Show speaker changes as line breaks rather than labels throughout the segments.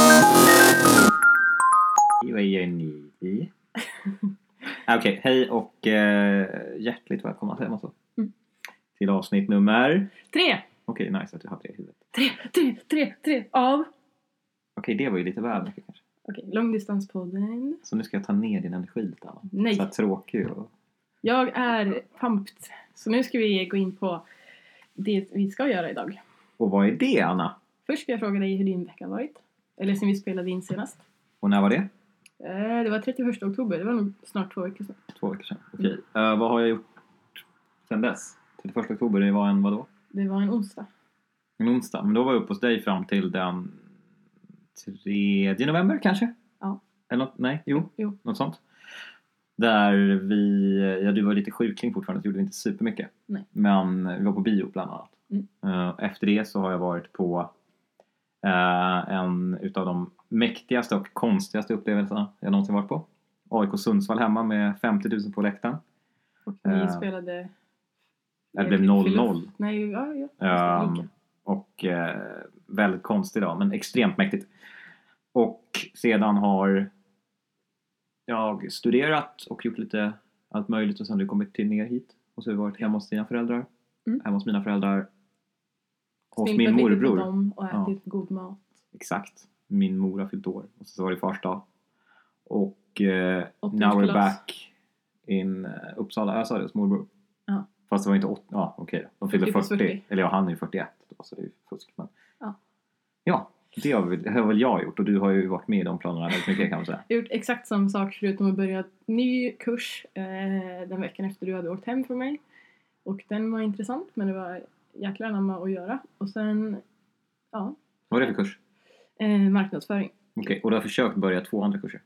Ah, Okej, hej och eh, hjärtligt välkomna säger man så?
Mm.
Till avsnitt nummer...
Tre,
Okej, nice att jag har tre i huvudet.
tre, tre, tre, tre av...
Okej, det var ju lite väl mycket kanske.
Okej, långdistanspodden.
Så nu ska jag ta ner din energi lite Anna.
Nej.
Så här tråkig och...
Jag är pumped. Så nu ska vi gå in på det vi ska göra idag.
och vad är det Anna?
Först ska jag fråga dig hur din vecka har varit. Eller sen vi spelade in senast.
Och när var det?
Eh, Det var 31 oktober, det var nog snart två veckor sedan.
Två veckor sedan. Okej, Eh, vad har jag gjort sedan dess? 31 oktober, det var en vadå?
Det var en onsdag.
En onsdag. Men då var jag uppe hos dig fram till den 3 november kanske?
Ja.
Eller något, nej, jo,
Jo.
något sånt. Där vi, ja du var lite sjukling fortfarande så gjorde vi inte supermycket.
Nej.
Men vi var på bio bland annat.
Mm.
Eh, efter det så har jag varit på eh, en utav de mäktigaste och konstigaste upplevelserna jag någonsin varit på. AIK Sundsvall hemma med 50 000 på läktaren.
Och vi
Eh.
spelade...
Ja, det blev 0-0.
Nej, ja, ja.
Ehm,
Österrike.
och eh, väldigt konstig dag, men extremt mäktigt. Och sedan har jag studerat och gjort lite allt möjligt och sen har vi kommit till ner hit. Och så har vi varit hemma hos dina föräldrar,
Mm.
hemma hos mina föräldrar, hos
Svinkat
min
lite på
morbror.
dem och
Ja.
ätit god mat.
Exakt. Min mor har fyllt år och så var det fars dag. Och eh,
Åttonde
now we're
kalas.
back in eh, Uppsala. Jag sa det, hos morbror.
Ja.
Fast det var inte åt... Ja, okej då. De fyllde
Typ
40.
40.
Eller ja, han är ju 41 då, så det är ju fusk. Men...
Ja.
Ja, det har, väl, det har väl jag gjort och du har ju varit med i de planerna väldigt mycket kan man säga.
Jag har gjort exakt samma sak förutom att börja en ny kurs eh, den veckan efter du hade åkt hem från mig. Och den var intressant men det var jäkla anamma att göra. Och sen, ja,
Vad är det för kurs?
eh, marknadsföring.
Okej, och du har försökt börja två andra kurser?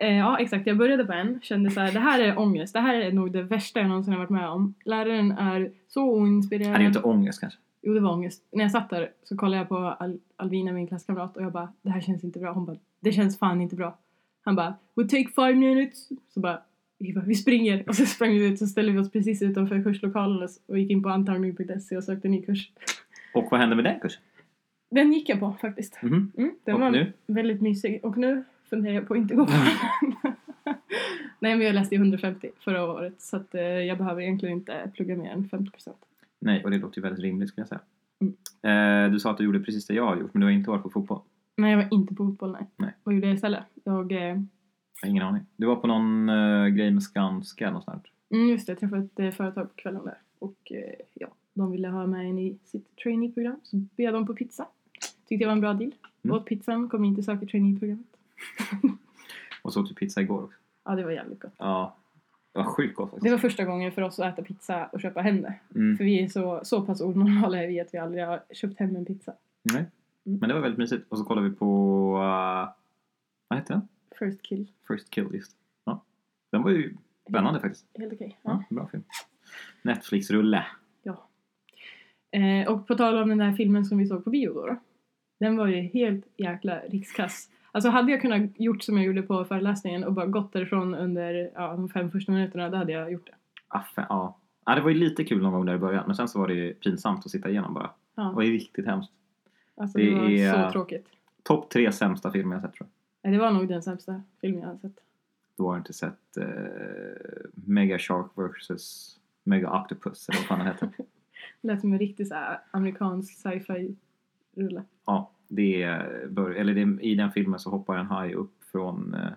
Eh, ja, exakt. Jag började på en, kände så här, det här är ångest. Det här är nog det värsta jag någonsin har varit med om. Läraren är så
Det
oinspirerad.
här är ju inte ångest kanske.
Jo, det var ångest. När jag satt där så kollade jag på Al- Alvina, min klasskamrat, och jag bara det här känns inte bra. Hon bara det känns fan inte bra. Han bara we'll take five minutes. Så bara vi, bara, vi springer. Och så sprang vi ut så ställde vi oss precis utanför kurslokalen och s- och gick in på antagning.se och sökte ny kurs.
Och vad hände med den kursen?
Den gick jag på faktiskt.
Mhm.
Mm, den
Och
var
nu?
väldigt mysig. Och nu funderar jag på att inte gå på den. Nej, men jag läste ju 150 förra året så att, eh, jag behöver egentligen inte plugga mer än 50 procent.
Nej, och det låter ju väldigt rimligt skulle jag säga.
Mm.
Eh, du sa att du gjorde precis det jag har gjort, men du har inte varit på fotboll.
Nej, jag var inte på fotboll, nej.
Nej.
Vad gjorde jag istället? Jag eh,
Jag har ingen aning. Du var på någon eh, grej med Skanska eller något sånt. där.
Mm, just det, jag träffade ett eh, företag på kvällen där. Och eh, ja, de ville ha med en i sitt trainee-program. Så bjöd de på pizza. Tyckte jag var en bra deal.
Mm.
Åt pizzan, kom in till söker trainee-programmet.
Och så åt vi pizza igår också.
Ja, det var jävligt gott.
Ja. Det var sjukt gott
Det
faktiskt.
var första gången för oss att äta pizza och köpa hem det.
Mm.
För vi är så, så pass onormala är vi att vi aldrig har köpt hem en pizza.
Nej. Men det var väldigt mysigt. Och så kollade vi på... eh, vad heter den?
First kill.
First Kill, just ja. Den var ju spännande faktiskt.
Helt okej. Ja.
Ja, bra film. Netflix-rulle.
Eh, och på tal om den där filmen som vi såg på bio då, då Den var ju helt jäkla rikskass. Alltså hade jag kunnat gjort som jag gjorde på föreläsningen och bara gått därifrån under ja, de fem första minuterna, då hade jag gjort det.
Ah, fan, ja. ja, det var ju lite kul någon gång där i början. Men sen så var det ju pinsamt att sitta igenom bara. Det var
Ja,
ju riktigt hemskt.
alltså
det
det, var
är-
så tråkigt.
Topp tre sämsta filmer jag sett tror jag.
Nej, det var nog den sämsta filmen jag hade sett.
Du har inte sett eh, Mega Shark vs Mega Octopus eller vad fan den heter.
Det lät som en riktig så här, amerikansk sci-fi-rulle.
Ja, det är, bör- eller det är, i den filmen så hoppar en haj upp från, eh,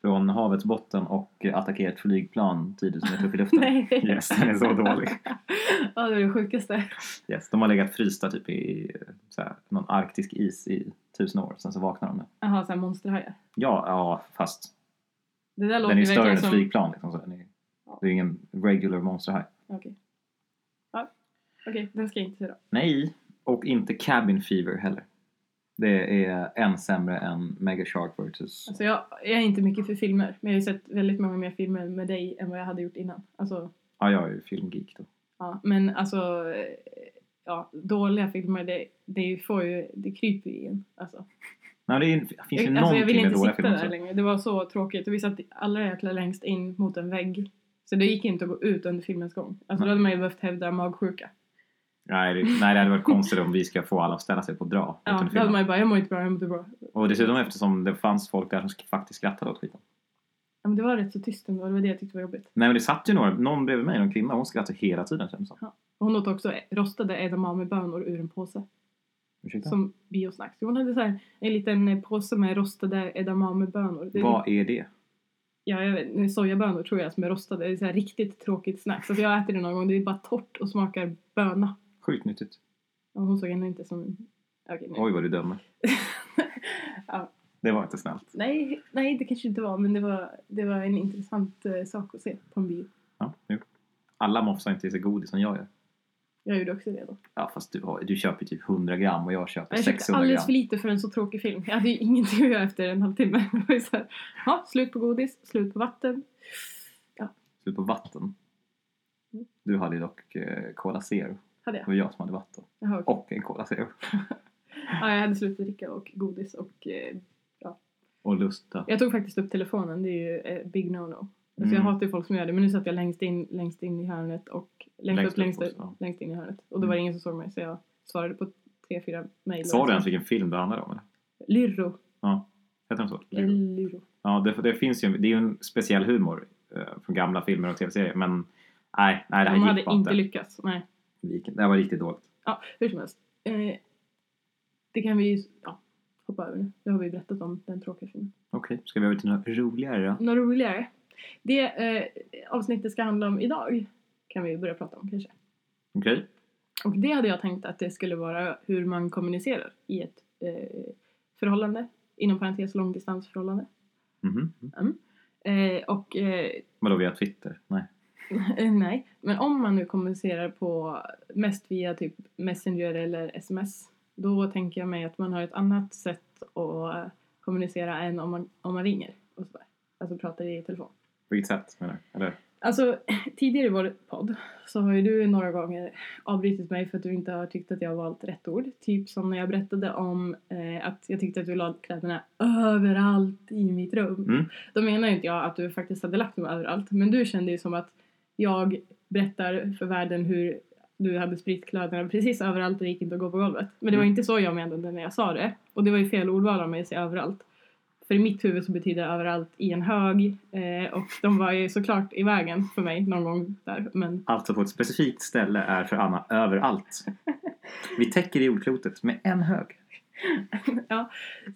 från havets botten och attackerar ett flygplan tidigt som är upp i luften.
Nej!
Yes, den är så dålig.
ja, det var det sjukaste.
Yes, de har legat frysta typ i eh, så här, någon arktisk is i tusen år, sen så vaknar de nu.
Jaha, såhär monsterhajar.
Ja, ja fast
Det där låter
den är
ju
större än
verkligen
ett
som...
flygplan liksom, så den är, det är ingen regular monsterhaj.
Okej. Ja. Okej, den ska jag inte se då.
Nej, och inte Cabin Fever heller. Det är än sämre än Mega Shark vs.
Alltså jag, jag är inte mycket för filmer, men jag har ju sett väldigt många mer filmer med dig än vad jag hade gjort innan. Alltså,
Ja, jag är ju filmgeek då.
ja, men alltså, eh, ja, dåliga filmer, det, det får ju, det kryper i en. Alltså.
Nej, det är, finns ju
Jag, alltså jag
någonting
ville
med
inte
dåliga
sitta
filmer
där
också.
längre, det var så tråkigt. Och vi satt allra jäkla längst in mot en vägg. Så det gick inte att gå ut under filmens gång. Alltså
Nej.
då hade man ju behövt hävda magsjuka.
Nej, det, nej, det hade varit konstigt om vi ska få alla att ställa sig på att dra. utan
Ja,
att
då hade
filma.
man ju bara, jag mår inte bra, jag mår inte bra.
Och dessutom eftersom det fanns folk där som sk- faktiskt skrattade åt skiten.
Ja, men det var rätt så tyst ändå, det var det jag tyckte var jobbigt.
Nej men det satt ju några, någon bredvid mig, någon kvinna, hon skrattade hela tiden kändes det som.
Och hon åt också eh, rostade edamamebönor ur en påse.
Ursäkta?
Som biosnack. Så hon hade så här en liten eh, påse med rostade edamamebönor. Det är
Vad är det?
Ja, jag vet, nu sojabönor tror jag som är rostade. Det är så här riktigt tråkigt snack. Så att jag äter det någon gång. Det är bara torrt och smakar böna.
Sjukt nyttigt.
Och hon såg henne inte som... Okej, nej.
Oj vad du dömer.
Ja.
Det var inte snällt.
nej. Nej, det kanske inte var. Men det var, det var en intressant eh, sak att se på en bio.
Ja, jo. Alla mofsar inte i sig godis som jag gör.
Jag gjorde också det då.
Ja fast du, har, du köper typ 100 gram och jag köper
Jag köpte
600 gram.
alldeles för lite för en så tråkig film. Jag hade ju ingenting att göra efter en halvtimme. Det var ju så här, ja, slut på godis, slut på vatten.
Slut på vatten.
Mm.
Du hade ju dock eh, Cola Zero.
Hade
Det
jag.
var jag som hade vatten.
Jaha, okej.
Och en Cola Zero.
ja, jag hade slutat dricka och godis och eh,
Och Lusta.
jag tog faktiskt upp telefonen. Det är ju eh, big no-no. Alltså
Mm.
jag hatar ju folk som gör det men nu satt jag längst in, längst in i hörnet och längst,
Längst
upp, längst,
upp
upp,
också, Mm.
längst in i hörnet. Och då var det ingen som såg mig så jag svarade på tre, fyra mejl.
Sa du ens vilken film det handlade om? Eller?
Lyrro.
Heter den så?
Lyrro.
Ja, det, det finns ju, det är ju en speciell humor eh, från gamla filmer och tv-serier. Men nej, nej det
De
här
hade
gick bara inte.
inte lyckats. Nej.
Det gick inte. Det här var riktigt dåligt.
Ja, hur som helst. Eh, det kan vi ju ja, hoppa över nu. Det har vi berättat om, den tråkiga filmen.
Okej, ska vi över till något roligare då?
Något roligare? Det eh, avsnittet ska handla om idag kan vi börja prata om kanske.
Okej.
Och det hade jag tänkt att det skulle vara hur man kommunicerar i ett eh, förhållande, inom parentes långdistansförhållande.
Mhm.
Eh, och eh,
Vadå, via Twitter? Nej.
Eh, Nej, men om man nu kommunicerar på mest via typ Messenger eller sms då tänker jag mig att man har ett annat sätt att eh, kommunicera än om man, om man ringer och sådär. Alltså pratar i telefon.
På vilket sätt menar du? Eller?
Alltså tidigare i vår podd så har ju du några gånger avbrutit mig för att du inte har tyckt att jag har valt rätt ord. Typ som när jag berättade om eh, att jag tyckte att du la kläderna överallt i mitt rum.
Mm.
Då menar ju inte jag att du faktiskt hade lagt dem överallt men du kände ju som att jag berättar för världen hur du hade spritt kläderna precis överallt och det gick inte att gå på golvet. Men det var
Mm.
inte så jag menade när jag sa det. Och det var ju fel ordval av mig att säga överallt. För i mitt huvud så betyder överallt i en hög eh, och de var ju såklart i vägen för mig någon gång där. Men
Alltså på ett specifikt ställe är för Anna överallt. Vi täcker jordklotet med en hög.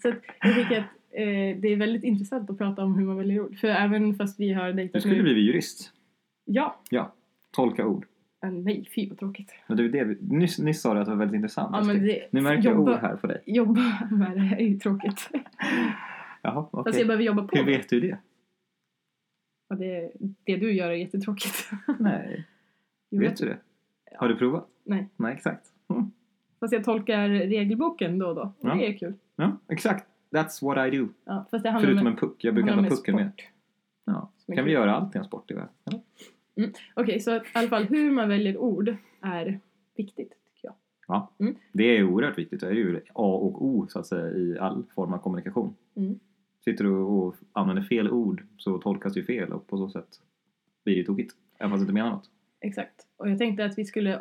så att jag tycker att eh, det är väldigt intressant att prata om hur man väljer ord. För även fast vi har
Du
dejtat
skulle
nu.
bli jurist.
Ja!
Tolka ord.
Eh, Nej, fy vad tråkigt.
Men det, är det, vi- nyss, nyss sa du att det var väldigt intressant.
Ja, men det,
Nu märker jag
jobba-
ord här för dig.
Jobba med det är ju tråkigt.
Jaha, okej.
Fast jag behöver jobba på
Hur
det.
vet du det?
Ja, det. Det du gör är jättetråkigt.
Nej,
Jo,
vet du det? Har du provat?
Nej.
Nej, exakt. Mm.
Fast jag tolkar regelboken då och då.
Ja.
Det är kul.
Ja, exakt. That's what I do.
Ja, fast det handlar
Förutom
om,
en puck. Jag brukar
handlar
ta
om
pucken med.
sport.
Ja.
Som är
Kan vi
kul.
göra allt i en sport i världen? eller?
Okej, så att, i alla fall hur man väljer ord är viktigt tycker jag.
Det är ju oerhört viktigt. Det är ju A och O så att säga i all form av kommunikation.
Mm.
Sitter du och använder fel ord så tolkas det ju fel och på så sätt blir det ju tokigt. Även fast du inte menar något.
Exakt. Och jag tänkte att vi skulle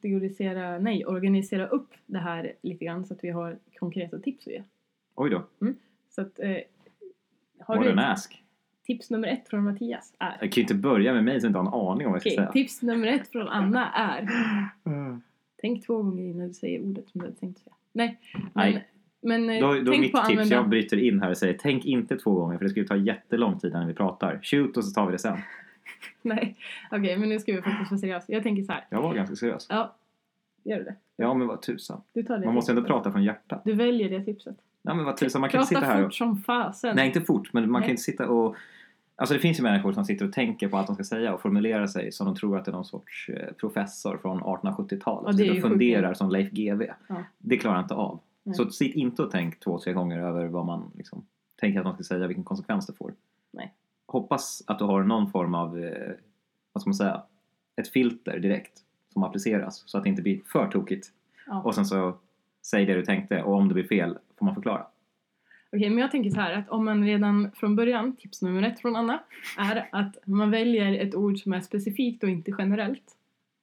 kategorisera, nej, organisera upp det här lite grann så att vi har konkreta tips att ge.
Oj då,
Så att, eh, har
what
du
an
ett,
ask.
tips nummer ett från Mattias är?
Jag kan ju inte börja med mig som inte har en aning om vad jag ska
Okej,
säga.
tips nummer ett från Anna är
Mm.
Tänk två gånger innan du säger ordet som du hade tänkt säga. Nej. Men,
Nej.
men eh,
Då, då är
tänk
mitt tips,
på att använda...
jag bryter in här och säger tänk inte två gånger för det skulle ta jättelång tid när vi pratar. Shoot och så tar vi det sen.
Nej, okej, men nu ska vi faktiskt vara seriösa. Jag tänker så här.
Jag var ganska seriös.
Ja, gör du det?
Ja men vad tusan.
Du tar det
Man måste ändå
tipset.
prata från hjärtat.
Du väljer det tipset.
Nej men vad tusan, man kan
Prata
inte sitta här och...
fort som fasen.
Nej, inte fort, men man
Nej.
kan inte sitta och... Alltså det finns ju människor som sitter och tänker på allt de ska säga och formulerar sig som de tror att det är någon sorts eh, professor från
Ja,
1870-talet.
det
Sitter
är
och
ju
funderar som Leif GW.
Ja.
Det klarar jag inte av.
Nej.
Så sitt inte och tänk två, tre gånger över vad man liksom, tänker att man ska säga, vilken konsekvens det får.
Nej.
Hoppas att du har någon form av, eh, vad ska man säga, ett filter direkt som appliceras så att det inte blir för tokigt.
Ja.
Och sen så säg det du tänkte och om det blir fel får man förklara.
Okej, men jag tänker så här att om man redan från början, tips nummer ett från Anna, är att man väljer ett ord som är specifikt och inte generellt.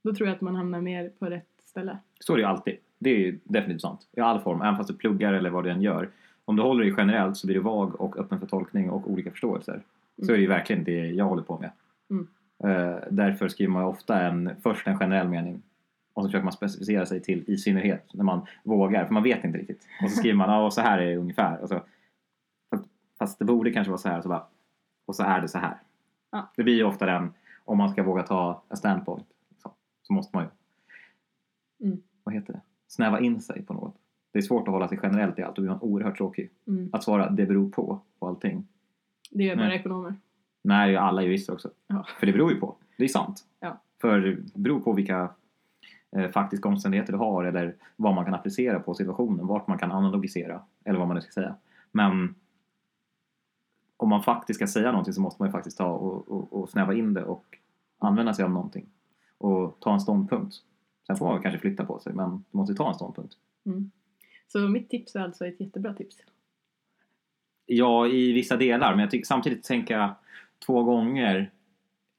Då tror jag att man hamnar mer på rätt ställe.
Så är det ju alltid. Det är ju definitivt sant. I all form, även fast du pluggar eller vad du än gör. Om du håller dig generellt så blir du vag och öppen för tolkning och olika förståelser. Så är det ju verkligen det jag håller på med.
Mm.
Eh, därför skriver man ju ofta en, först en generell mening och så försöker man specificera sig till i synnerhet när man vågar, för man vet inte riktigt. Och så skriver man ja, så här är det ungefär. Och så, fast- fast det borde kanske vara så här och så bara, och så är det så här.
Ja.
Det blir ju ofta den, om man ska våga ta en standpoint, liksom, så måste man ju,
Mm.
vad heter det, snäva in sig på något. Det är svårt att hålla sig generellt i allt och blir man oerhört tråkig.
Mm.
Att svara det beror på, på allting.
Det gör bara
Nej.
ekonomer.
Nej, ju alla jurister också.
Ja.
För det beror ju på. Det är sant.
Ja.
För det beror på vilka eh, faktiska omständigheter du har eller vad man kan applicera på situationen, vart man kan analogisera eller vad man nu ska säga. Men om man faktiskt ska säga någonting så måste man ju faktiskt ta och, och, och snäva in det och använda sig av någonting och ta en ståndpunkt. Sen får man väl kanske flytta på sig, men du måste ju ta en ståndpunkt.
Så mitt tips är alltså ett jättebra tips.
Ja, i vissa delar, men jag tycker samtidigt tänka två gånger.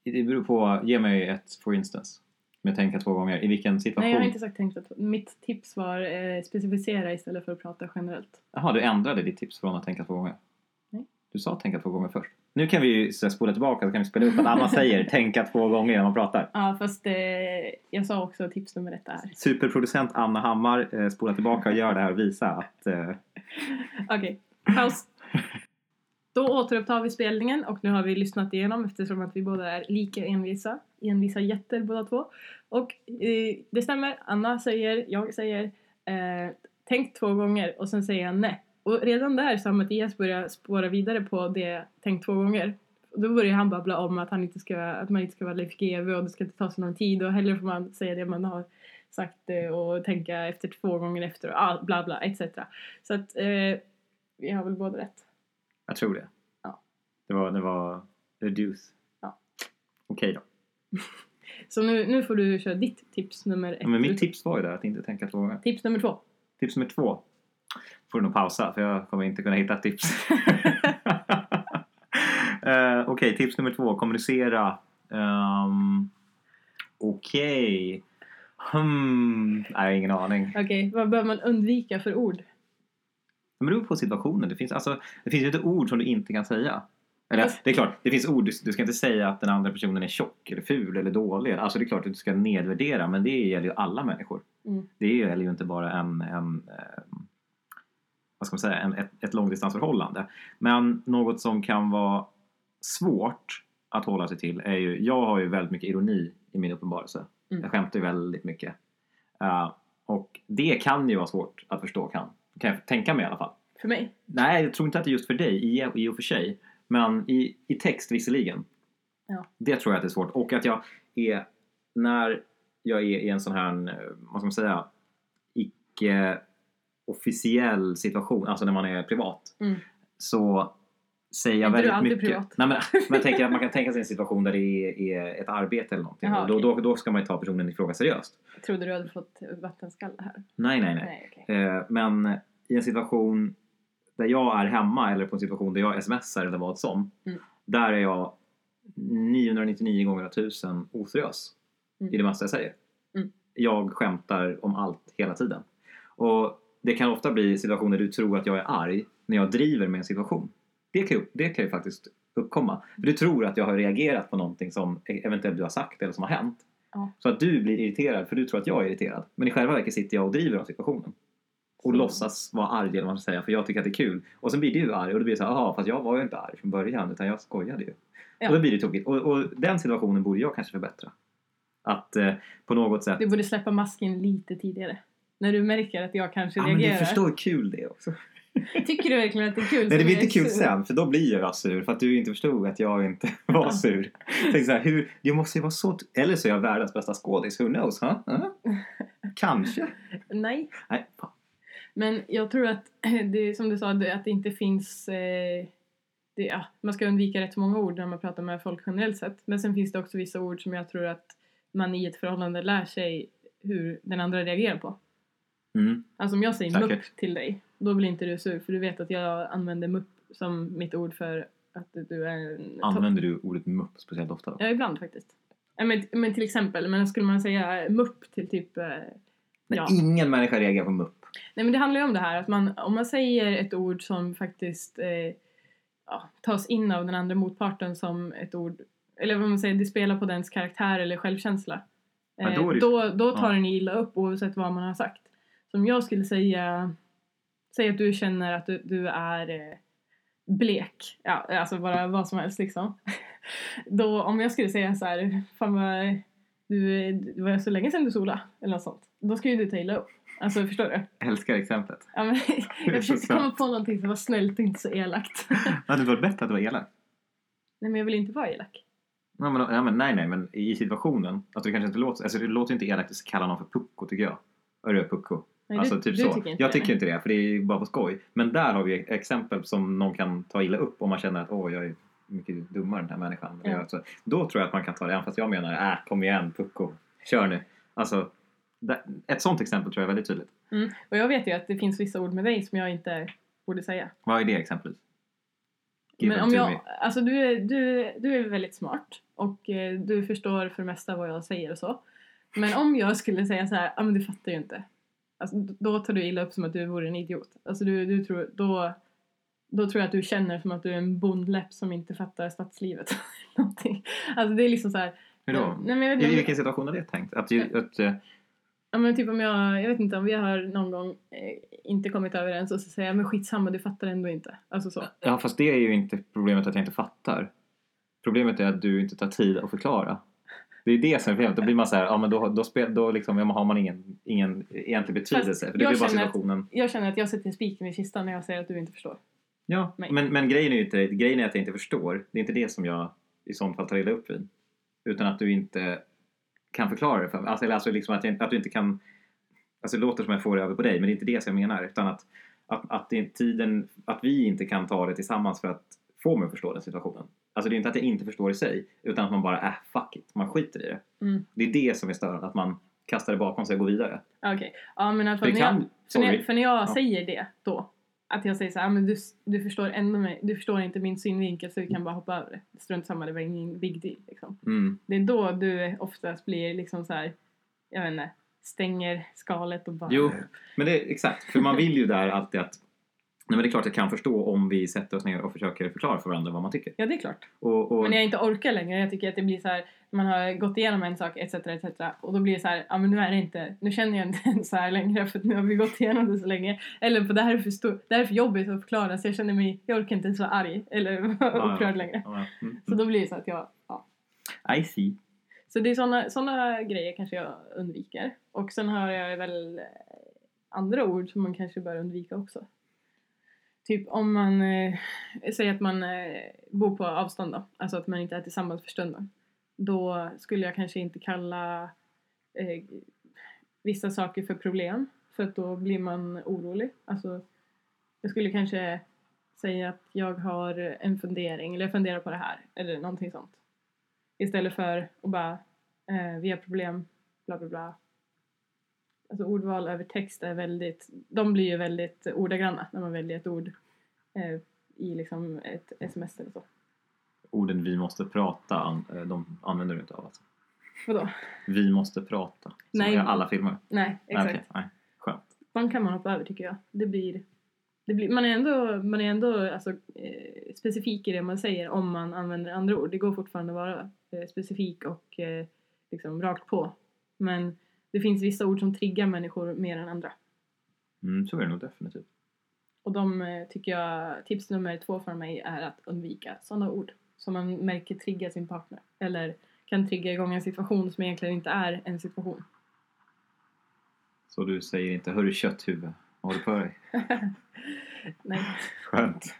Det beror på, ge mig ett for instance. Men tänka två gånger, i vilken situation?
Nej, jag har inte sagt tänkt att mitt tips var eh, specificera istället för att prata generellt.
Jaha, du ändrade ditt tips från att tänka två gånger?
Nej.
Du sa tänka två gånger först. Nu kan vi ju så här spola tillbaka så kan vi spela upp att Anna säger tänka två gånger när man pratar.
Ja, fast eh, jag sa också att tips nummer ett är.
Superproducent Anna Hammar, eh, spola tillbaka och gör det här och visa att eh,
Okej, paus. Då återupptar vi spelningen och nu har vi lyssnat igenom eftersom att vi båda är lika envisa. Envisa jätter båda två. Och eh, det stämmer, Anna säger, jag säger, eh, tänk två gånger och sen säger jag nej. Och redan där så har Mattias börjat spåra vidare på det, tänk två gånger. Och då börjar han babbla om att, han inte ska, att man inte ska vara Leif GW och det ska inte ta så lång tid och hellre får man säga det man har sagt eh, och tänka efter två gånger efter och ah, bla bla etc. Så att eh, vi har väl båda rätt.
jag tror det.
Ja.
Det var, det var reduce.
Ja.
Okej då.
Så nu, nu får du köra ditt tips nummer ett.
Men
ut-
mitt tips var ju där att inte tänka två gånger.
tips nummer två.
Tips nummer två. Får du nog pausa för jag kommer inte kunna hitta ett tips. Eh, Okej, tips nummer två. Kommunicera. Um, Okej. Hmm. Nej, jag har ingen aning.
Okej, vad bör man undvika för ord?
Men det beror på situationen. Det finns, alltså, det finns ju inte ord som du inte kan säga. Eller, det är klart, det finns ord. Du, du ska inte säga att den andra personen är tjock eller ful eller dålig. Alltså det är klart att du ska nedvärdera, men det gäller ju alla människor.
Mm.
Det gäller ju inte bara en, en eh, vad ska man säga, en, ett, ett långdistansförhållande. Men något som kan vara svårt att hålla sig till är ju, jag har ju väldigt mycket ironi i min uppenbarelse.
Mm.
Jag skämtar ju väldigt mycket. Eh, och det kan ju vara svårt att förstå kan, kan jag tänka mig i alla fall.
För mig?
Nej, jag tror inte att det är just för dig i, i och för sig. Men i, i text visserligen.
Ja.
Det tror jag att det är svårt. Och att jag är, när jag är i en sån här, eh, vad ska man säga, icke-officiell situation, alltså när man är privat,
Mm.
så säger jag
Är inte du
väldigt
alltid
mycket.
privat?
Nej, men, men jag tänker att man kan tänka sig en situation där det är, är ett arbete eller någonting.
Jaha,
och då,
okej.
då, då ska man ju ta personen i fråga seriöst.
Trodde du hade fått vattenskalle här?
Nej, nej, nej.
Nej, okej.
Eh, men i en situation där jag är hemma eller på en situation där jag smsar eller vad som.
Mm.
Där är jag 999 gånger av 1000 oseriös
Mm.
i det mesta jag säger.
Mm.
Jag skämtar om allt hela tiden. Och det kan ofta bli situationer där du tror att jag är arg när jag driver med en situation. Det kan ju, det kan ju faktiskt uppkomma. För du tror att jag har reagerat på någonting som eventuellt du har sagt eller som har hänt.
Ja.
Så att du blir irriterad för du tror att jag är irriterad. Men i själva verket sitter jag och driver om situationen. Och
Så.
låtsas vara arg eller vad man ska säga för jag tycker att det är kul. Och sen blir du arg och då blir det så här, jaha fast jag var ju inte arg från början utan jag skojade ju.
Ja.
Och då blir det tokigt. Och, och den situationen borde jag kanske förbättra. Att eh, på något sätt...
Du borde släppa masken lite tidigare. När du märker att jag kanske
Ja "Ah, men du
reagerar.
förstår hur kul det är också.
Tycker du verkligen att det är kul?
Nej det
så
blir
jag
inte
är
kul
sur.
sen för då blir jag sur för att du inte förstod att jag inte var
Ja.
sur. Tänk så här, hur, jag måste ju vara så... t- Eller så är jag världens bästa skådis, who knows? Huh? Huh? Kanske?
Nej.
Nej, fan.
Men jag tror att, det, som du sa, det- att det inte finns... Eh, det, ja, man ska undvika rätt många ord när man pratar med folk generellt sett. Men sen finns det också vissa ord som jag tror att man i ett förhållande lär sig hur den andra reagerar på.
Mm.
Alltså om jag säger
Säkert.
mupp till dig, då blir inte du sur för du vet att jag använder mupp som mitt ord för att du är en topp-
Använder du ordet mupp speciellt ofta?
Ja, ibland faktiskt. Ja, Men, men till exempel, men skulle man säga mupp till typ... eh,
Nej,
Ja.
ingen människa reagerar på mupp.
Nej men det handlar ju om det här att man, om man säger ett ord som faktiskt eh, ja, tas in av den andra motparten som ett ord, eller vad man säger, det spelar på dens karaktär eller självkänsla.
Ja,
Eh,
då är det-
då, då tar
ja.
den illa upp oavsett vad man har sagt. Som jag skulle säga, säg att du känner att du, du är eh, blek, ja, alltså bara vad som helst liksom. då, om jag skulle säga så här, fan vad, du, det var så länge sedan du sola eller något sånt. Då skulle ju du ta illa upp. Alltså förstår du?
Jag älskar exemplet.
Ja, men, jag försökte
sant.
komma på någonting som var snällt och inte så elakt.
Det hade varit bättre att vara elak.
Nej men jag vill inte vara elak.
Ja, men, ja, men, nej, nej, men i situationen. Att du kanske inte låter, alltså, det låter ju inte elakt att kalla någon för pucko tycker jag. Hörru pucko.
Nej,
alltså
du,
typ
du
så.
Tycker inte
jag
det,
tycker
nej.
inte det, för det är ju bara på skoj. Men där har vi exempel som någon kan ta illa upp om man känner att åh, jag är mycket dummare än den här människan.
Ja.
Ja. Alltså, då tror jag att man kan ta det, även fast jag menar äh, kom igen pucko, kör nu. Alltså, där, ett sånt exempel tror jag är väldigt tydligt.
Och jag vet ju att det finns vissa ord med dig som jag inte borde säga.
Vad är det exemplet? Give
Men
them
om
to
jag,
me.
alltså du är, du, du är väldigt smart och eh, du förstår för det mesta vad jag säger och så. Men om jag skulle säga så här, ja ah, men du fattar ju inte. Alltså, d- då tar du illa upp som att du vore en idiot. Alltså du, du tror, då, då tror jag att du känner som att du är en bondläpp som inte fattar stadslivet. Någonting. Alltså det är liksom så här.
Hur då?
Nej, men jag vet
I
inte om-
vilken situation är det tänkt? Att, ju, att, eh,
Ja men typ om jag, jag vet inte om vi har någon gång eh, inte kommit överens och så säger jag men skitsamma du fattar ändå inte. Alltså så.
ja, fast det är ju inte problemet att jag inte fattar. Problemet är att du inte tar tid att förklara. Det är det som är problemet. Då blir man så här, ja men då, då, spel, då liksom, ja, men har man ingen, ingen egentlig betydelse. För det
jag
blir bara
känner att-
situationen.
Jag känner att jag sätter en spik i kistan när jag säger att du inte förstår.
Ja,
Nej.
men, men grejen, är ju inte, grejen är att jag inte förstår. Det är inte det som jag i sånt fall tar illa upp vid. Utan att du inte kan förklara det för mig. Alltså, eller alltså liksom att, jag, att du inte kan... Alltså det låter som jag får det över på dig, men det är inte det som jag menar. Utan att, att, att, det är tiden, att vi inte kan ta det tillsammans för att få mig att förstå den situationen. Alltså det är inte att jag inte förstår i sig, utan att man bara äh, fuck it, man skiter i det.
Mm.
Det är det som är störande, att man kastar det bakom sig och går vidare.
Ja, Ah, Okej. Ja men i alla fall
Det
när
kan-
jag, för när,
sorry.
för när jag
Ja.
säger det då. Att jag säger så här, "Ah, men du, du förstår ändå mig, du förstår inte min synvinkel så du kan bara hoppa över det. Strunt samma, det var ingen big deal liksom.
Mm.
Det är då du oftast blir liksom så här, jag vet inte, stänger skalet och bara...
Jo, men det är exakt. För man vill ju där alltid att Nej, men det är klart jag kan förstå om vi sätter oss ner och försöker förklara för varandra vad man tycker.
Ja det är klart.
Och, och,
Men när jag inte orkar längre, jag tycker att det blir så här, man har gått igenom en sak etc. etc. Och då blir det så här, ja men nu är det inte, nu känner jag inte ens så här längre för att nu har vi gått igenom det så länge. Eller på det här är för, stor, det här är för jobbigt att förklara så jag känner mig, jag orkar inte ens vara arg eller
ja.
upprörd längre.
Ja, mm,
Så då blir det så att jag, ja.
mm. I see.
Så det är sådana såna grejer kanske jag undviker. Och sen har jag väl eh, andra ord som man kanske bör undvika också. Typ om man eh, säger att man eh, bor på avstånd då, alltså att man inte är tillsammans för stunden. Då skulle jag kanske inte kalla eh, vissa saker för problem för att då blir man orolig. Alltså, jag skulle kanske säga att jag har en fundering eller jag funderar på det här eller någonting sånt. Istället för att bara eh, vi har problem, bla bla bla. Alltså ordval över text är väldigt, de blir ju väldigt ordagranna när man väljer ett ord eh, i liksom ett sms eller så.
Orden vi måste prata, an- eh, de använder du inte av alltså.
Vadå?
Vi måste prata. Som
Nej.
Nej. i alla filmer.
Nej,
Nej,
exakt.
okej, nej. Skönt.
De kan man hoppa över tycker jag. Det blir, det blir, man är ändå, man är ändå alltså, eh, specifik i det man säger om man använder andra ord. Det går fortfarande att vara eh, specifik och eh, liksom rakt på. Men det finns vissa ord som triggar människor mer än andra.
Mm, så är det nog definitivt.
Och de eh, tycker jag, tips nummer två för mig är att undvika sådana ord som man märker triggar sin partner. Eller kan trigga igång en situation som egentligen inte är en situation.
Så du säger inte hörru kötthuvud, vad har du på dig?
Nej.
Skönt.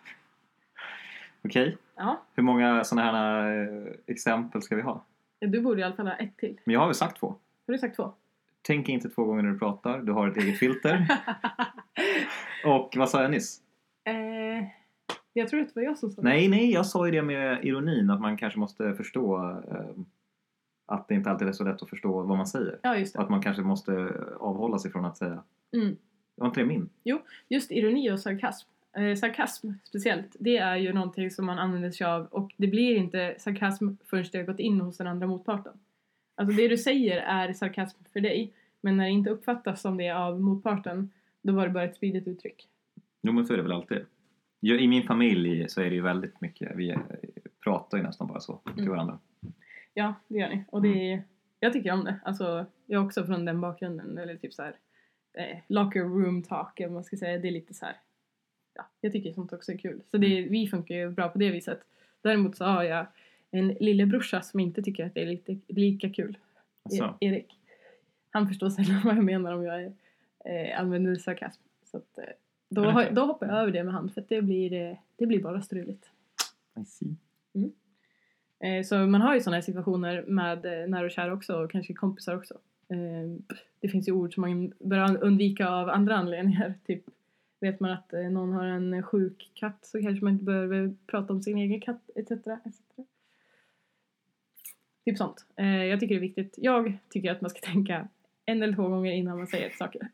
Okej,
Ja,
hur många sådana här eh, exempel ska vi ha?
du borde i alla fall ha ett till.
Men jag har väl sagt två?
Har du sagt två?
Tänk inte två gånger när du pratar, du har ett eget filter. Och vad sa jag nyss?
Eh, jag tror att det var jag som sa det.
Nej, nej, jag sa ju det med ironin att man kanske måste förstå eh, att det inte alltid är så lätt att förstå vad man säger.
Ja, just det.
Att man kanske måste avhålla sig från att säga.
Mm.
Var inte det min?
Just ironi och sarkasm. Eh, sarkasm speciellt, det är ju någonting som man använder sig av och det blir inte sarkasm förrän det har gått in hos den andra motparten. Alltså det du säger är sarkasm för dig, men när det inte uppfattas som det av motparten, då var det bara ett spydigt uttryck.
Jo, men så är det väl alltid. Ja, I min familj så är det ju väldigt mycket, vi eh, pratar ju nästan bara så till
Mm.
varandra.
Ja, det gör ni. Och det
Mm.
är, jag tycker om det. Alltså, jag är också från den bakgrunden. Eller typ så här, eh, locker room talk, eller vad man ska säga. Det är lite så här, ja, jag tycker sånt också är kul. Så det,
Mm.
vi funkar ju bra på det viset. Däremot så har jag en lillebrorsa som inte tycker att det är lite, lika kul.
Alltså,
E- Erik. Han förstår sällan vad jag menar om jag eh, använder sarkasm. Så att, eh, då,
Men
har-
okej.
då hoppar jag över det med han för att det blir, eh, det blir bara struligt.
I see.
Eh, så man har ju sådana här situationer med eh, nära och kära också och kanske kompisar också. Eh, det finns ju ord som man bör undvika av andra anledningar. Typ vet man att eh, någon har en sjuk katt så kanske man inte behöver prata om sin egen katt etc. etc. Typ sånt. Eh, jag tycker det är viktigt. Jag tycker att man ska tänka en eller två gånger innan man säger saker.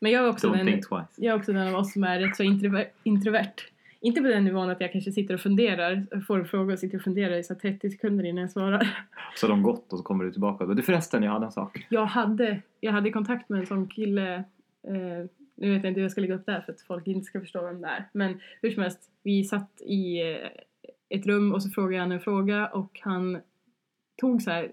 Men jag är också
Don't
den
think twice.
jag är också den av oss som är rätt så introver- introvert. Inte på den nivån att jag kanske sitter och funderar, får en fråga och sitter och funderar i så här 30 sekunder innan jag svarar.
Så de gått och så kommer du tillbaka. Du förresten, jag hade en sak.
Jag hade, jag hade kontakt med en sån kille, eh, nu vet jag inte hur jag ska lägga upp det här för att folk inte ska förstå vem det är. Men hur som helst, vi satt i eh, ett rum och så frågade jag han en fråga och han tog så här,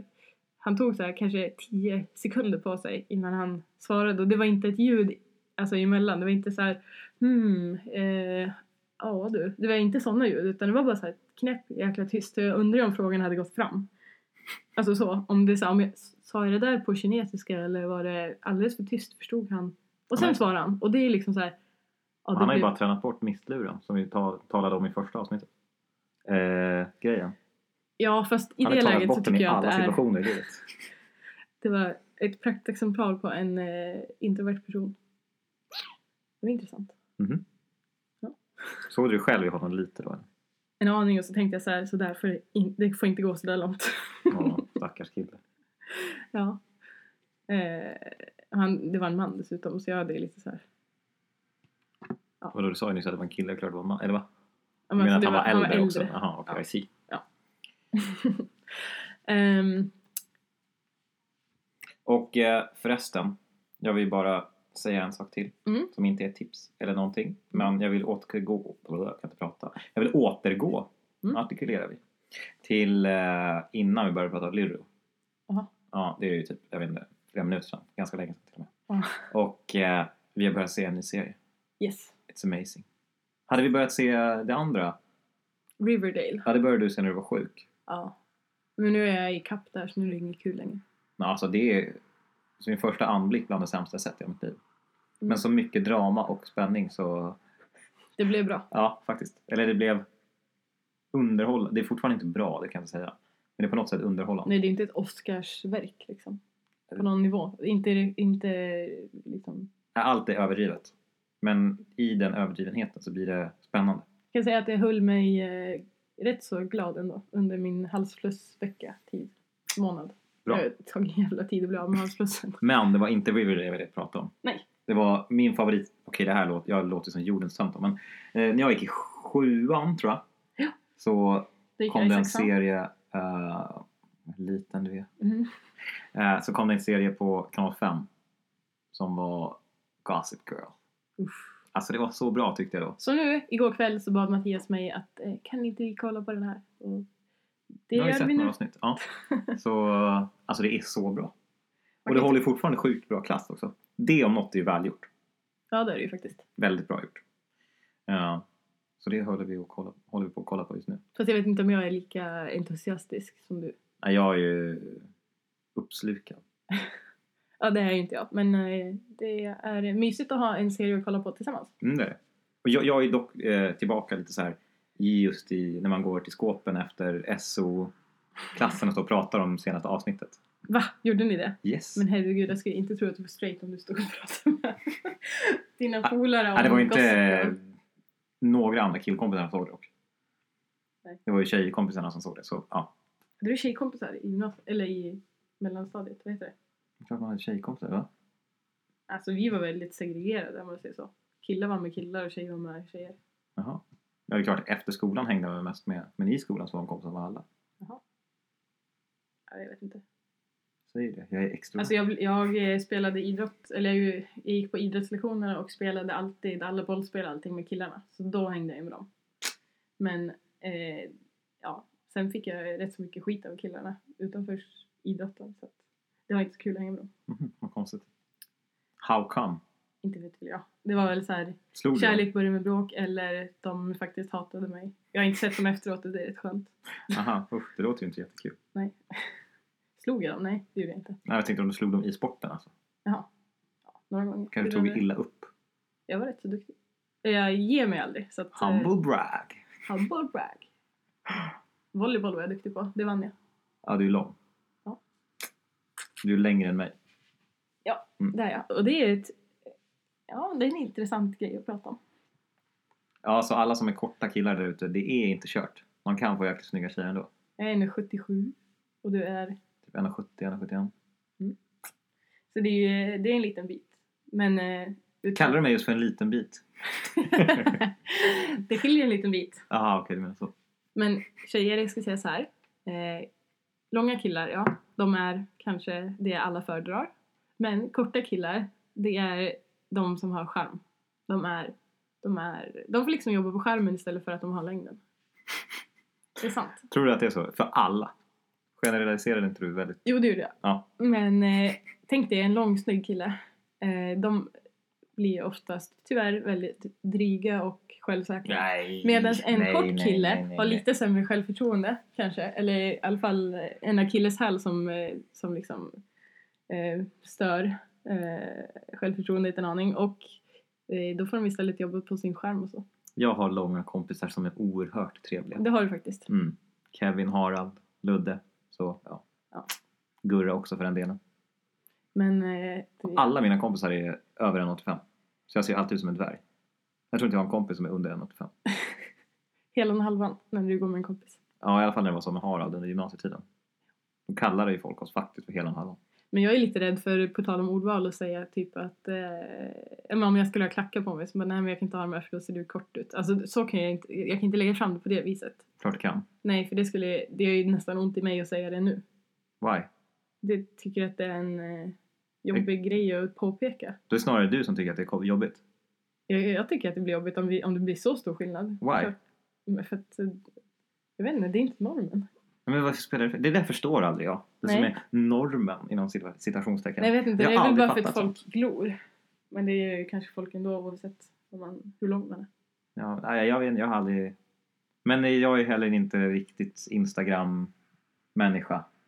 han tog så här kanske 10 sekunder på sig innan han svarade och det var inte ett ljud alltså emellan. Det var inte så här hmm, eh, ja du. Det var inte sådana ljud utan det var bara så här knäpp, jäkla tyst. Så Jag undrar om frågan hade gått fram. Alltså så, om det sa, om jag, sa jag det där på kinesiska eller var det alldeles för tyst förstod han. Och sen
Nej.
svarade han och det är liksom så här. ja, det
Han har ju
blev-
bara tränat bort mistluren som vi ta- talade om i första avsnittet. Eh, grejen.
Ja, fast i
Han
det
har talat
läget så
bort den
tycker
i
jag att det
alla
är...
situationer i livet.
Det var ett praktexemplar på en eh, introvert person. Det var intressant.
Såg du själv i honom lite då? eller?
En aning och så tänkte jag så här, så där får det, in, det får inte gå så där långt.
Ja, stackars kille.
ja. Eh, han, det var en man dessutom så jag hade lite så här.
Vadå, du sa ju nyss att det var en kille, klart det var en man. Eller va? Du
Ja, men
menar att
alltså,
han var,
det
äldre också? Jaha, okej,
Ja.
I see.
Ehm,
Och eh, förresten, jag vill bara säga en sak till
Mm.
som inte är ett tips eller någonting. Men jag vill återgå, jag kan inte prata. Jag vill återgå,
Mm.
artikulerar vi, till eh, innan vi började prata Lyrro.
Jaha.
Ja, det är ju typ, jag vet inte, flera minuter sedan. Ganska länge sedan till och med.
Ja.
Och eh, vi har börjat se en ny serie.
yes.
It's amazing. Hade vi börjat se det andra,
Riverdale.
ja det började du se när du var sjuk.
Ja. Men nu är jag i kapp där så nu är det inget kul längre.
Men alltså det är som i första anblick bland det sämsta jag sett i mitt liv.
Mm.
Men så mycket drama och spänning så
Det blev bra.
Ja, faktiskt. Eller det blev underhållande. Det är fortfarande inte bra, det kan jag inte säga. Men det är på något sätt underhållande.
Nej, det är inte ett Oscarsverk liksom. På
Eller-
någon nivå. Inte, inte liksom
Äh, Allt är överdrivet. Men i den överdrivenheten så blir det spännande.
Jag kan säga att jag höll mig eh, rätt så glad ändå under min halsflussvecka, tid, månad.
Bra.
Jag tog en jävla tid att bli av med halsflussen.
Men det var inte Riverdale jag ville prata om.
Nej.
Det var min favorit. Okej, det här låter, jag låter som jordens tönt. Men eh, när jag gick i sjuan, tror jag.
Ja.
Så
Det gick
kom
jag
det en
exakt samma.
serie. eh, liten du är.
Mm.
Eh, så kom det en serie på kanal 5. Som var Gossip Girl.
Uff.
Alltså det var så bra tyckte jag då.
Så nu, igår kväll, så bad Mattias mig att eh, kan inte vi kolla på den här? Och det
nu har vi
gör
sett
vi
några
nu.
avsnitt. Ja. Så, alltså det är så bra. Och det
Okej.
håller ju fortfarande sjukt bra klass också. Det om något är ju välgjort.
Ja, det är det ju faktiskt.
Väldigt bra gjort. Eh, så det håller vi, och kolla, håller vi på att kolla på just nu.
Fast jag vet inte om jag är lika entusiastisk som du.
Nej, jag är ju uppslukad.
Ja, det är ju inte jag. Men eh, det är mysigt att ha en serie att kolla på tillsammans.
Mm, det är det. Och jag, jag är dock eh, tillbaka lite så här i just i, när man går till skåpen efter SO-klassen och står och pratar om senaste avsnittet.
Va? Gjorde ni det?
Yes!
Men herregud, jag skulle inte tro att du var straight om du stod och pratade med dina
Ah,
polare.
Nej, det var
om
ju inte
gossip.
några andra killkompisar som såg det dock.
Nej.
Det var ju tjejkompisarna som såg det, så ja.
Du är tjejkompisar i gymnasiet, eller i mellanstadiet, vad heter det?
Det är Klart man hade tjejkompisar, va?
Alltså vi var väldigt segregerade om man säger så. Killar var med killar och tjejer var med tjejer.
Jaha. Ja, det är klart, efter skolan hängde man mest med, men i skolan så var de kompisar med alla.
Ja, jag vet inte.
Säg det, jag är extrovert.
Alltså jag, jag eh, spelade idrott, eller jag, ju- jag gick på idrottslektionerna och spelade alltid alla bollspel och allting med killarna. Så då hängde jag med dem. Men eh, ja, sen fick jag rätt så mycket skit av killarna utanför idrotten. Så att det var inte så kul att hänga med dem.
Mhm, vad konstigt. How come?
Inte vet väl jag. Det var väl så här
Slog du?
kärlek börjar med bråk eller de faktiskt hatade mig. Jag har inte sett dem efteråt och det är rätt skönt.
Aha, usch, det låter ju inte jättekul.
Nej. Slog jag dem? Nej, det gjorde jag inte.
Nej, jag tänkte om du slog dem i sporten alltså.
Jaha. Ja, några gånger.
Kanske
Det var
tog
det.
illa upp.
Jag var rätt så duktig. Jag ger mig aldrig. Så att, eh,
Humble brag.
Humble brag. Volleyboll var jag duktig på. Det vann jag.
Ja, du är lång.
Ja.
Du är längre än mig.
Det är jag. Och det är ett... Ja, det är en intressant grej att prata om.
Ja, så alla som är korta killar där ute, det är inte kört. Man kan få jäkligt snygga tjejer ändå.
Jag är nu 77 och du är...
Typ 1,70, 1,71.
Så det är ju det är en liten bit. Men... eh, utan-
Kallar du mig just för en liten bit?
det skiljer en liten bit.
Jaha, okej, du menar så.
Men tjejer, jag ska säga så här. Eh, långa killar, ja, de är kanske det alla föredrar. Men korta killar, det är de som har charm. De är, de är, de får liksom jobba på skärmen istället för att de har längden. Det är sant.
Tror du att det är så? För alla? Generaliserar inte du väldigt?
Jo, det gjorde jag.
Ja.
Men eh, tänk dig en lång snygg kille. Eh, de blir oftast tyvärr väldigt dryga och självsäkra.
Nej!
Medan en kort kille har lite sämre självförtroende kanske. Eller i alla fall eh, en akilleshäl som, eh, som liksom eh, stör eh, självförtroendet en aning. Och eh, då får de istället jobba på sin skärm och så.
Jag har långa kompisar som är oerhört trevliga.
Det har du faktiskt.
Mm. Kevin, Harald, Ludde. Så, ja.
Ja.
Gurra också för den delen.
Men eh, det-
Alla mina kompisar är över 1,85. Så jag ser alltid ut som en dvärg. Jag tror inte jag har en kompis som är under 1,85.
hela och halvan när du går med en kompis.
Ja, i alla fall när det var som med Harald under gymnasietiden. Då kallade ju folk oss faktiskt för hela halvan.
Men jag är lite rädd för, på tal om ordval, att säga typ att eh, men om jag skulle ha klackar på mig så bara nej men jag kan inte ha dem här för då ser du kort ut. Alltså så kan jag inte, jag kan inte lägga fram det på det viset.
Klart du kan.
Nej, för det skulle, det är ju nästan ont i mig att säga det nu.
Why?
Det tycker att det är en eh, jobbig grej att påpeka.
Då är det snarare du som tycker att det är jobbigt.
Jag, jag tycker att det blir jobbigt om, vi, om det blir så stor skillnad.
Why?
För, men för att, eh, jag vet inte, det är inte normen.
Nej, Men varför spelar det för? Det där förstår aldrig jag. Det som
Nej.
är normen inom cita- citationstecken.
Nej, jag vet inte,
Jag
det
har
är väl
aldrig
bara för att
fattat
folk glor. Men det är ju kanske folk ändå oavsett vad man, hur lång man är.
Ja, nej, jag, vet, jag har aldrig... Men jag är heller inte riktigt Instagram-människa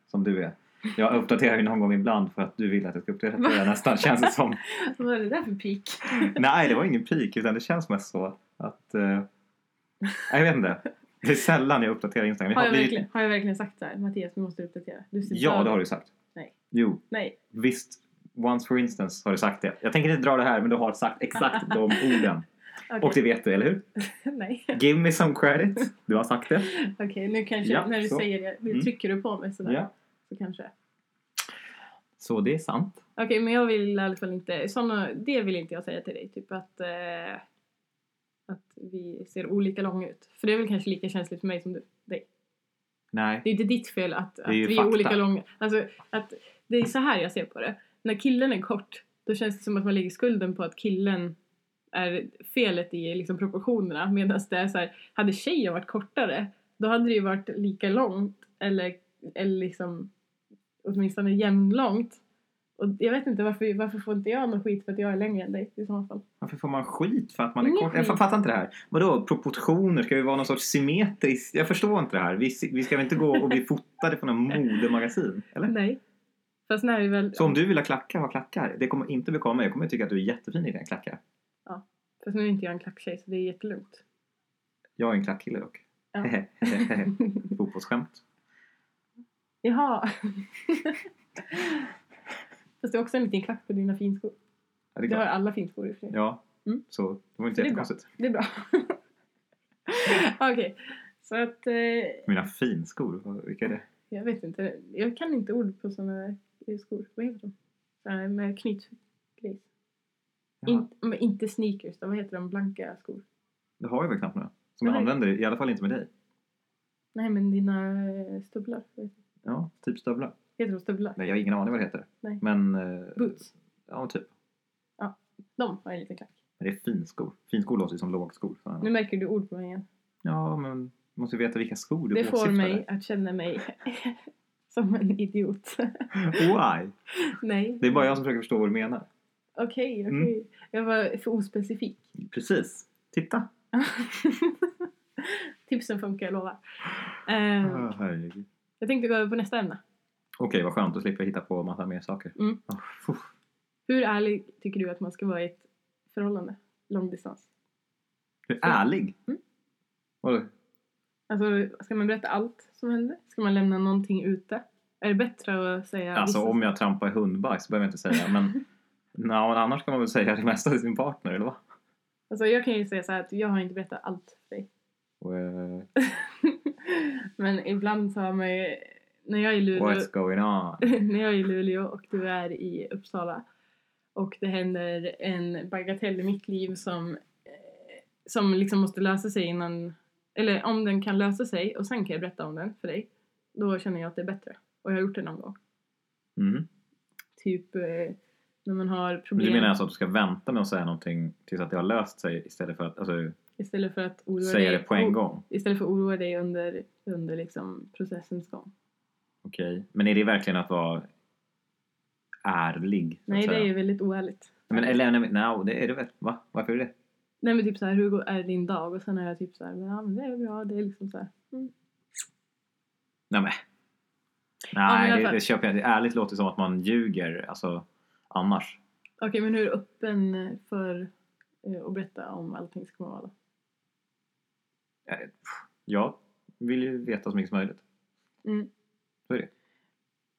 som du är. Jag uppdaterar ju någon gång ibland för att du vill att jag ska uppdatera nästan, känns det som.
Vad är det där för pik?
Nej, det var ingen pik, utan det känns mest så att... eh, jag vet inte. Det är sällan jag uppdaterar Instagram.
Har jag,
blivit-
verkligen, har jag verkligen sagt så här? Mattias, nu måste du uppdatera. Du ser
Ja,
död
det har
ut."
du sagt.
Nej.
Jo,
Nej,
visst. Once for instance har du sagt det. Jag tänker inte dra det här, men du har sagt exakt de orden.
okej.
Och det vet du, eller hur?
Nej,
Give me some credit. Du har sagt det.
okej, nu kanske,
Ja,
när du
så.
säger det, nu
Mm.
trycker du på mig sådär.
Ja.
Så kanske.
Så det är sant.
Okej, men jag vill i alla fall inte, såna, det vill inte jag säga till dig, typ att, eh, att vi ser olika långa ut. För det är väl kanske lika känsligt för mig som du, dig.
Nej.
Det är inte ditt fel att, att
är ju
vi är
fakta.
olika långa. Alltså, att det är så här jag ser på det. När killen är kort, då känns det som att man lägger skulden på att killen är felet i liksom, proportionerna. Medan det är så här, hade tjejen varit kortare, då hade det ju varit lika långt. Eller, eller liksom, åtminstone jämnlångt. Och jag vet inte, varför, varför får inte jag någon skit för att jag är längre än dig i så fall?
Varför får man skit för att man är
Ingen
kort? Jag
skit.
fattar inte det här. Vadå, proportioner? Ska vi vara någon sorts symmetriskt? Jag förstår inte det här. Vi, vi ska väl inte gå och bli fotade på något modemagasin? Eller?
Nej. Fast när vi väl...
Så om du vill ha klackar, ha klackar. Det kommer inte bekomma mig. Jag kommer tycka att du är jättefin i dina klackar.
Fast nu är inte jag en klacktjej så det är jättelugnt.
Jag är en klackkille dock.
Ja.
Fotbollsskämt.
Jaha. Fast det är också en liten klack på dina finskor.
Ja, det är
Det har
klart.
alla finskor i och för sig.
Ja,
Mm.
så det var inte
Det är bra.
jättekonstigt.
Det är bra. Okej, så att eh,
Mina finskor, vad- vilka är det?
jag vet inte. Jag kan inte ord på sådana skor. Vad heter de? Såna här med knytgrejs.
Jaha.
In, men inte sneakers, då. vad heter de? Blanka skor.
Det har jag väl knappt några. Som jag
Nej.
använder, i alla fall inte med dig.
Nej, men dina eh, stövlar.
Ja, typ stövlar.
Heter de stövlar?
Nej, jag har ingen aning vad det heter.
Nej.
Men, eh,
Boots.
ja typ.
De har en liten klack.
Men det är finskor. Finskor låter ju som lågskor. Så-
Nu märker du ord på mig igen.
Ja, men du måste ju veta vilka skor du
Det får
åsyftar.
mig att känna mig som en idiot.
Why?
Nej.
Det är bara jag som försöker förstå vad du menar.
Okej, okej.
Mm.
Jag var för ospecifik.
Precis. Titta!
Tipsen funkar, jag lovar. Eh,
Ah, herregud.
jag tänkte gå över på nästa ämne.
Okej, vad skönt. Då slipper jag hitta på massa mer saker.
Mm.
Ah, fuh.
Hur ärlig tycker du att man ska vara i ett förhållande? Långdistans.
Du är ärlig.
Mm.
Vadå?
Alltså, ska man berätta allt som händer? Ska man lämna någonting ute? Är det bättre att säga...
Alltså
vissa-
om jag trampar i hundbajs behöver jag inte säga men Nå, men annars kan man väl säga det mesta till sin partner eller vad?
alltså, jag kan ju säga så här att jag har inte berättat allt för dig.
Och, eh,
Men ibland så har man ju... När jag är i Luleå...
What's going on?
när jag är i Luleå och du är i Uppsala och det händer en bagatell i mitt liv som, eh, som liksom måste lösa sig innan, eller om den kan lösa sig och sen kan jag berätta om den för dig, då känner jag att det är bättre. Och jag har gjort det någon gång.
Mm.
Typ eh, när man har
Men
problem
du menar alltså att du ska vänta med att säga någonting tills att det har löst sig istället för att
Mm,
alltså,
istället för att oroa
säga
dig,
det på en gång?
istället för att oroa dig under, under liksom processens gång.
Okej, men är det verkligen att vara ärlig? så att
Nej, det
säga?
är ju väldigt oärligt.
Men, eller nej, men- no, det är det väl? Va? Varför är det
Nej men typ såhär, hur går- är din dag? Och sen är jag typ såhär, men ja men det är bra, det är liksom såhär. Mm.
Nej, men.
men i
Nej,
alla
det,
fall.
det köper jag inte. Ärligt låter som att man ljuger alltså, annars.
Okej, men hur öppen eh, för eh, att berätta om allting ska man vara då?
Eh, pff, Jag vill ju veta så mycket som möjligt.
Mm.
Så är det.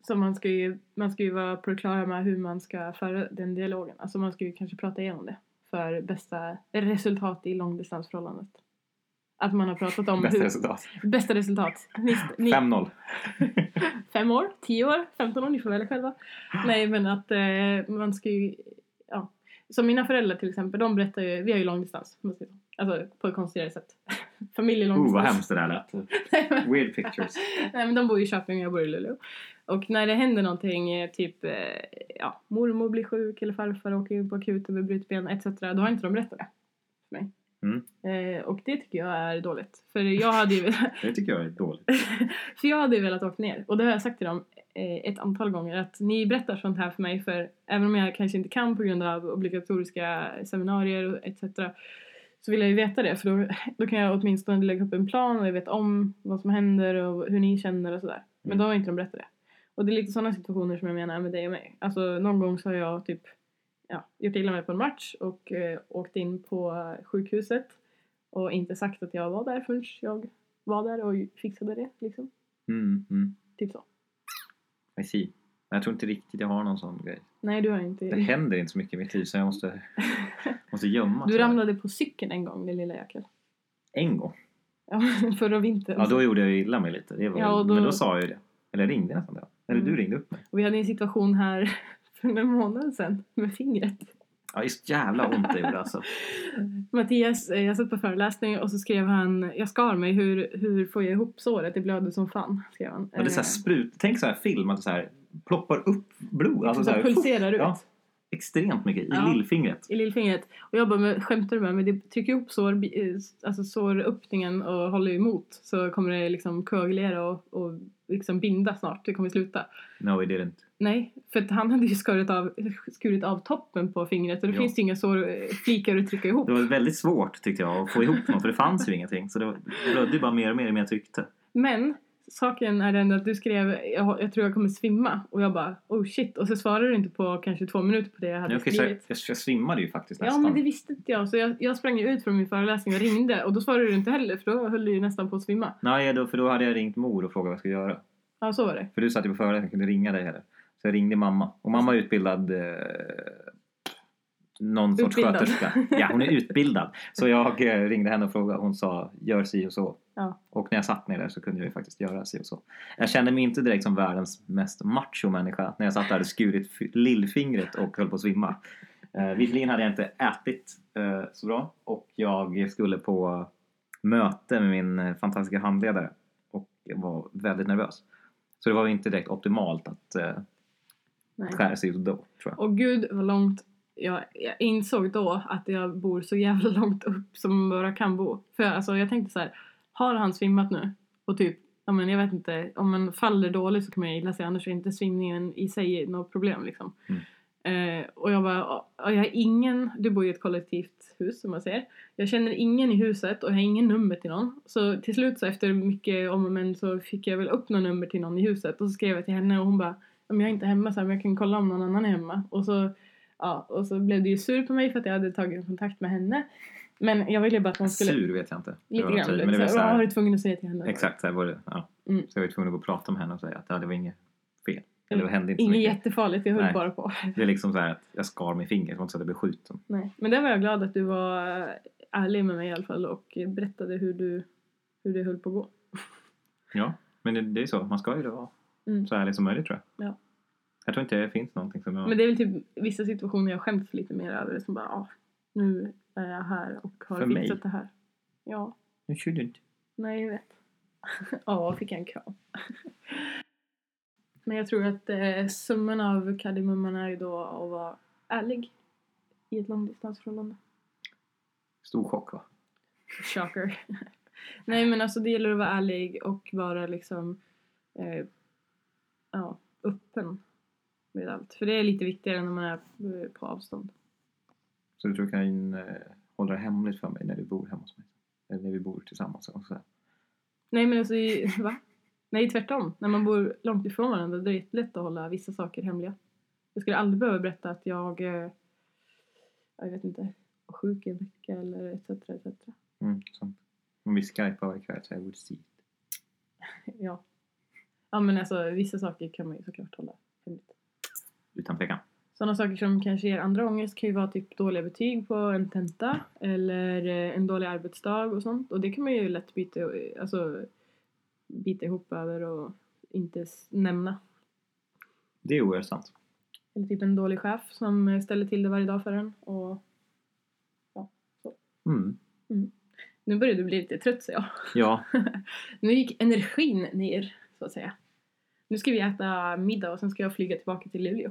Så man ska ju, man ska ju vara på det klara med hur man ska föra den dialogen. Alltså man ska ju kanske prata igenom det för bästa resultat i långdistansförhållandet. Att man har pratat om
Bästa
hur,
resultat.
bästa resultat. Visst, ni,
5-0.
fem år, tio år, femton år, ni får välja själva. Nej men att eh, man ska ju, ja. Som mina föräldrar till exempel, de berättar ju, vi har ju långdistans. om man säger så. Alltså på ett konstigare sätt. Familj i
Oh,
långdistans.
vad hemskt det där lät.
Nej, men-
Weird pictures.
Nej men de bor i Köping och jag bor i Luleå. Och när det händer någonting, eh, typ eh, ja, mormor blir sjuk eller farfar åker in på akuten med brutet ben etc. Då har inte de berättat det för mig.
Mm.
Eh, och det tycker jag är dåligt. För jag hade ju,
Det tycker jag är dåligt.
för jag hade ju velat åka ner. Och det har jag sagt till dem eh, ett antal gånger att ni berättar sånt här för mig för även om jag kanske inte kan på grund av obligatoriska seminarier och etc. Så vill jag ju veta det för då, då kan jag åtminstone lägga upp en plan och jag vet om vad som händer och hur ni känner och sådär. Men då har inte de berättat det. Och det är lite sådana situationer som jag menar med dig och mig. Alltså någon gång så har jag typ ja, gjort illa mig på en match och eh, åkt in på sjukhuset och inte sagt att jag var där förrän jag var där och fixade det liksom.
Mm, mm.
Typ så.
I see. Men Jag tror inte riktigt jag har någon sån grej.
Nej, du har
Det
inte...
händer inte så mycket i mitt liv så jag måste, måste gömma.
Du
tror jag.
ramlade på cykeln en gång, din lilla jäkel.
En gång.
Ja, förra vintern.
Ja, då gjorde jag ju illa mig lite. Det var,
Ja, och då-
Men då sa jag ju det. Eller jag ringde nästan det. Eller
Mm.
du ringde upp mig.
Och vi hade en situation här för en månad sedan med fingret.
Ja, just jävla ont det gjorde alltså.
Mattias, eh, jag satt på föreläsning och så skrev han Jag skar mig, hur, hur får jag ihop såret? Det blöder som fan, skrev han. Eh,
Men det är så här sprut... Tänk så här film att det så här ploppar upp blod. Alltså så här,
pulserar ut
ja. extremt mycket i
Ja.
lillfingret.
i lillfingret. Och jag bara, men, skämtar du med mig? Det trycker ihop sår, eh, alltså såröppningen och håller emot så kommer det liksom koagulera och, och liksom binda snart. Det kommer sluta.
No, it didn't.
Nej, för att han hade ju skurit av, skurit av toppen på fingret och då
Ja.
finns det ju inga sår, flikar att trycka ihop.
Det var väldigt svårt tyckte jag att få ihop något för det fanns ju ingenting. Så det var- det blödde ju bara mer och mer än jag tyckte.
Men saken är den att du skrev jag, jag tror jag kommer svimma och jag bara oh shit och så svarade du inte på kanske två minuter på det jag hade
Jag, kan ju säga-
skrivit.
jag, jag svimmade ju faktiskt
Ja
nästan.
men det visste inte jag så jag, jag sprang ju ut från min föreläsning och ringde och då svarade du inte heller för då höll du ju nästan på att svimma.
Nej, då, för då hade jag ringt mor och frågat vad jag skulle göra.
Ja så var det.
För du satt ju på föreläsning och kunde ringa dig heller. Så jag ringde mamma. Och mamma är utbildad... Eh, någon sorts
Utbildad.
sköterska. Ja, hon är utbildad. Så jag eh, ringde henne och frågade. Hon sa gör si och så.
Ja.
Och när jag satt ner där så kunde jag ju faktiskt göra si och så. Jag kände mig inte direkt som världens mest macho-människa när jag satt där och skurit f- lillfingret och höll på att svimma. Eh, visserligen hade jag inte ätit eh, så bra och jag skulle på möte med min eh, fantastiska handledare och jag var väldigt nervös. Så det var ju inte direkt optimalt att eh,
Nej.
skära sig just då, tror jag.
Och gud vad långt jag, jag insåg då att jag bor så jävla långt upp som man bara kan bo. För jag, alltså, jag tänkte så här, har han svimmat nu? Och typ, ja men jag vet inte, om man faller dåligt så kan man ju illa sig annars är inte svimningen i sig något problem liksom.
Mm.
Eh, och jag bara, ja, jag har ingen, du bor i ett kollektivt hus som man säger. Jag känner ingen i huset och jag har ingen nummer till någon. Så till slut så efter mycket om och men så fick jag väl upp något nummer till någon i huset och så skrev jag till henne och hon bara om jag är inte hemma så här, men jag kan kolla om någon annan är hemma. Och så, ja, och så blev det ju sur på mig för att jag hade tagit kontakt med henne. Men jag ville bara att hon skulle...
Sur vet jag inte. Det
Lite
var
grann.
tid,
Lite,
men det var
så
så
här, vad var
här,
du tvungen att säga till henne?
exakt så här var det. Ja.
Mm.
Så jag var tvungen att gå och prata med henne och säga att ja, det var inget fel. Eller
Mm.
det hände inte så
Inget
mycket.
jättefarligt, jag höll
Nej.
bara på.
Det är liksom så här att jag skar min finger, det var inte så att jag blev skjuten.
Nej. Men där var jag glad att du var eh, ärlig med mig i alla fall och berättade hur, du, hur det höll på att gå.
Ja, men det, det är så. Man ska ju då vara
Mm.
så ärlig som möjligt tror jag.
Ja.
Jag tror inte det finns någonting som jag...
Men det är väl typ vissa situationer jag skäms lite mer över som bara, ja, nu är jag här och har
För mig?
fixat det här. Ja,
You shouldn't.
Nej, jag vet. Ja, fick jag en kram. Men jag tror att eh, summan av kardemumman är ju då att vara ärlig i ett långdistansförhållande.
Stor chock va?
Shocker. Nej, men alltså det gäller att vara ärlig och vara liksom eh, ja, öppen med allt. För det är lite viktigare när man är eh, på avstånd.
Så du tror jag kan eh, hålla det hemligt för mig när du bor hemma hos mig? Eller när vi bor tillsammans? Och så här.
Nej, men alltså, i- va? Nej, tvärtom. När man bor långt ifrån varandra då är det jättelätt att hålla vissa saker hemliga. Jag skulle aldrig behöva berätta att jag, eh, jag vet inte, var sjuk i en vecka eller etc. etc.
Mm, sånt. Om vi skypar varje kväll så I would see it.
Ja. ja, men alltså vissa saker kan man ju såklart hålla hemligt.
Utan tvekan.
Sådana saker som kanske ger andra ångest kan ju vara typ dåliga betyg på en tenta eller eh, en dålig arbetsdag och sånt. Och det kan man ju lätt byta, alltså, bita ihop över och inte s- nämna.
Det är oerhört sant.
Eller typ en dålig chef som eh, ställer till det varje dag för en. Och
Mm.
nu börjar du bli lite trött ser jag.
Ja,
Nu gick energin ner, så att säga. Nu ska vi äta middag och sen ska jag flyga tillbaka till Luleå.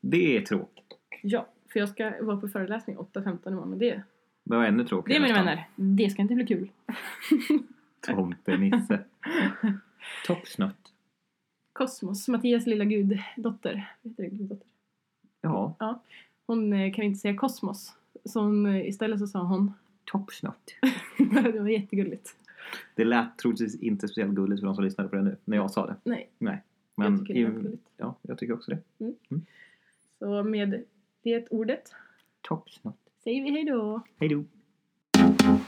det är tråkigt.
Ja, för jag ska vara på föreläsning 8.15 imorgon och det,
Det var ännu
det
tråkigare
mina
nästan.
vänner, det ska inte bli kul.
Tomtenisse. Toppsnött.
Kosmos, Mattias lilla guddotter, heter det guddotter?
Ja,
Hon eh, kan inte säga kosmos, så hon, eh, istället så sa hon,
toppsnött.
det var jättegulligt.
Det lät troligtvis inte speciellt gulligt för de som lyssnade på det nu, när jag sa det.
Nej,
Nej. Men
jag tycker det var
i-
gulligt.
Ja, jag tycker också det.
Så med det ordet
Toppsnött.
säger vi hej då.
Hej då.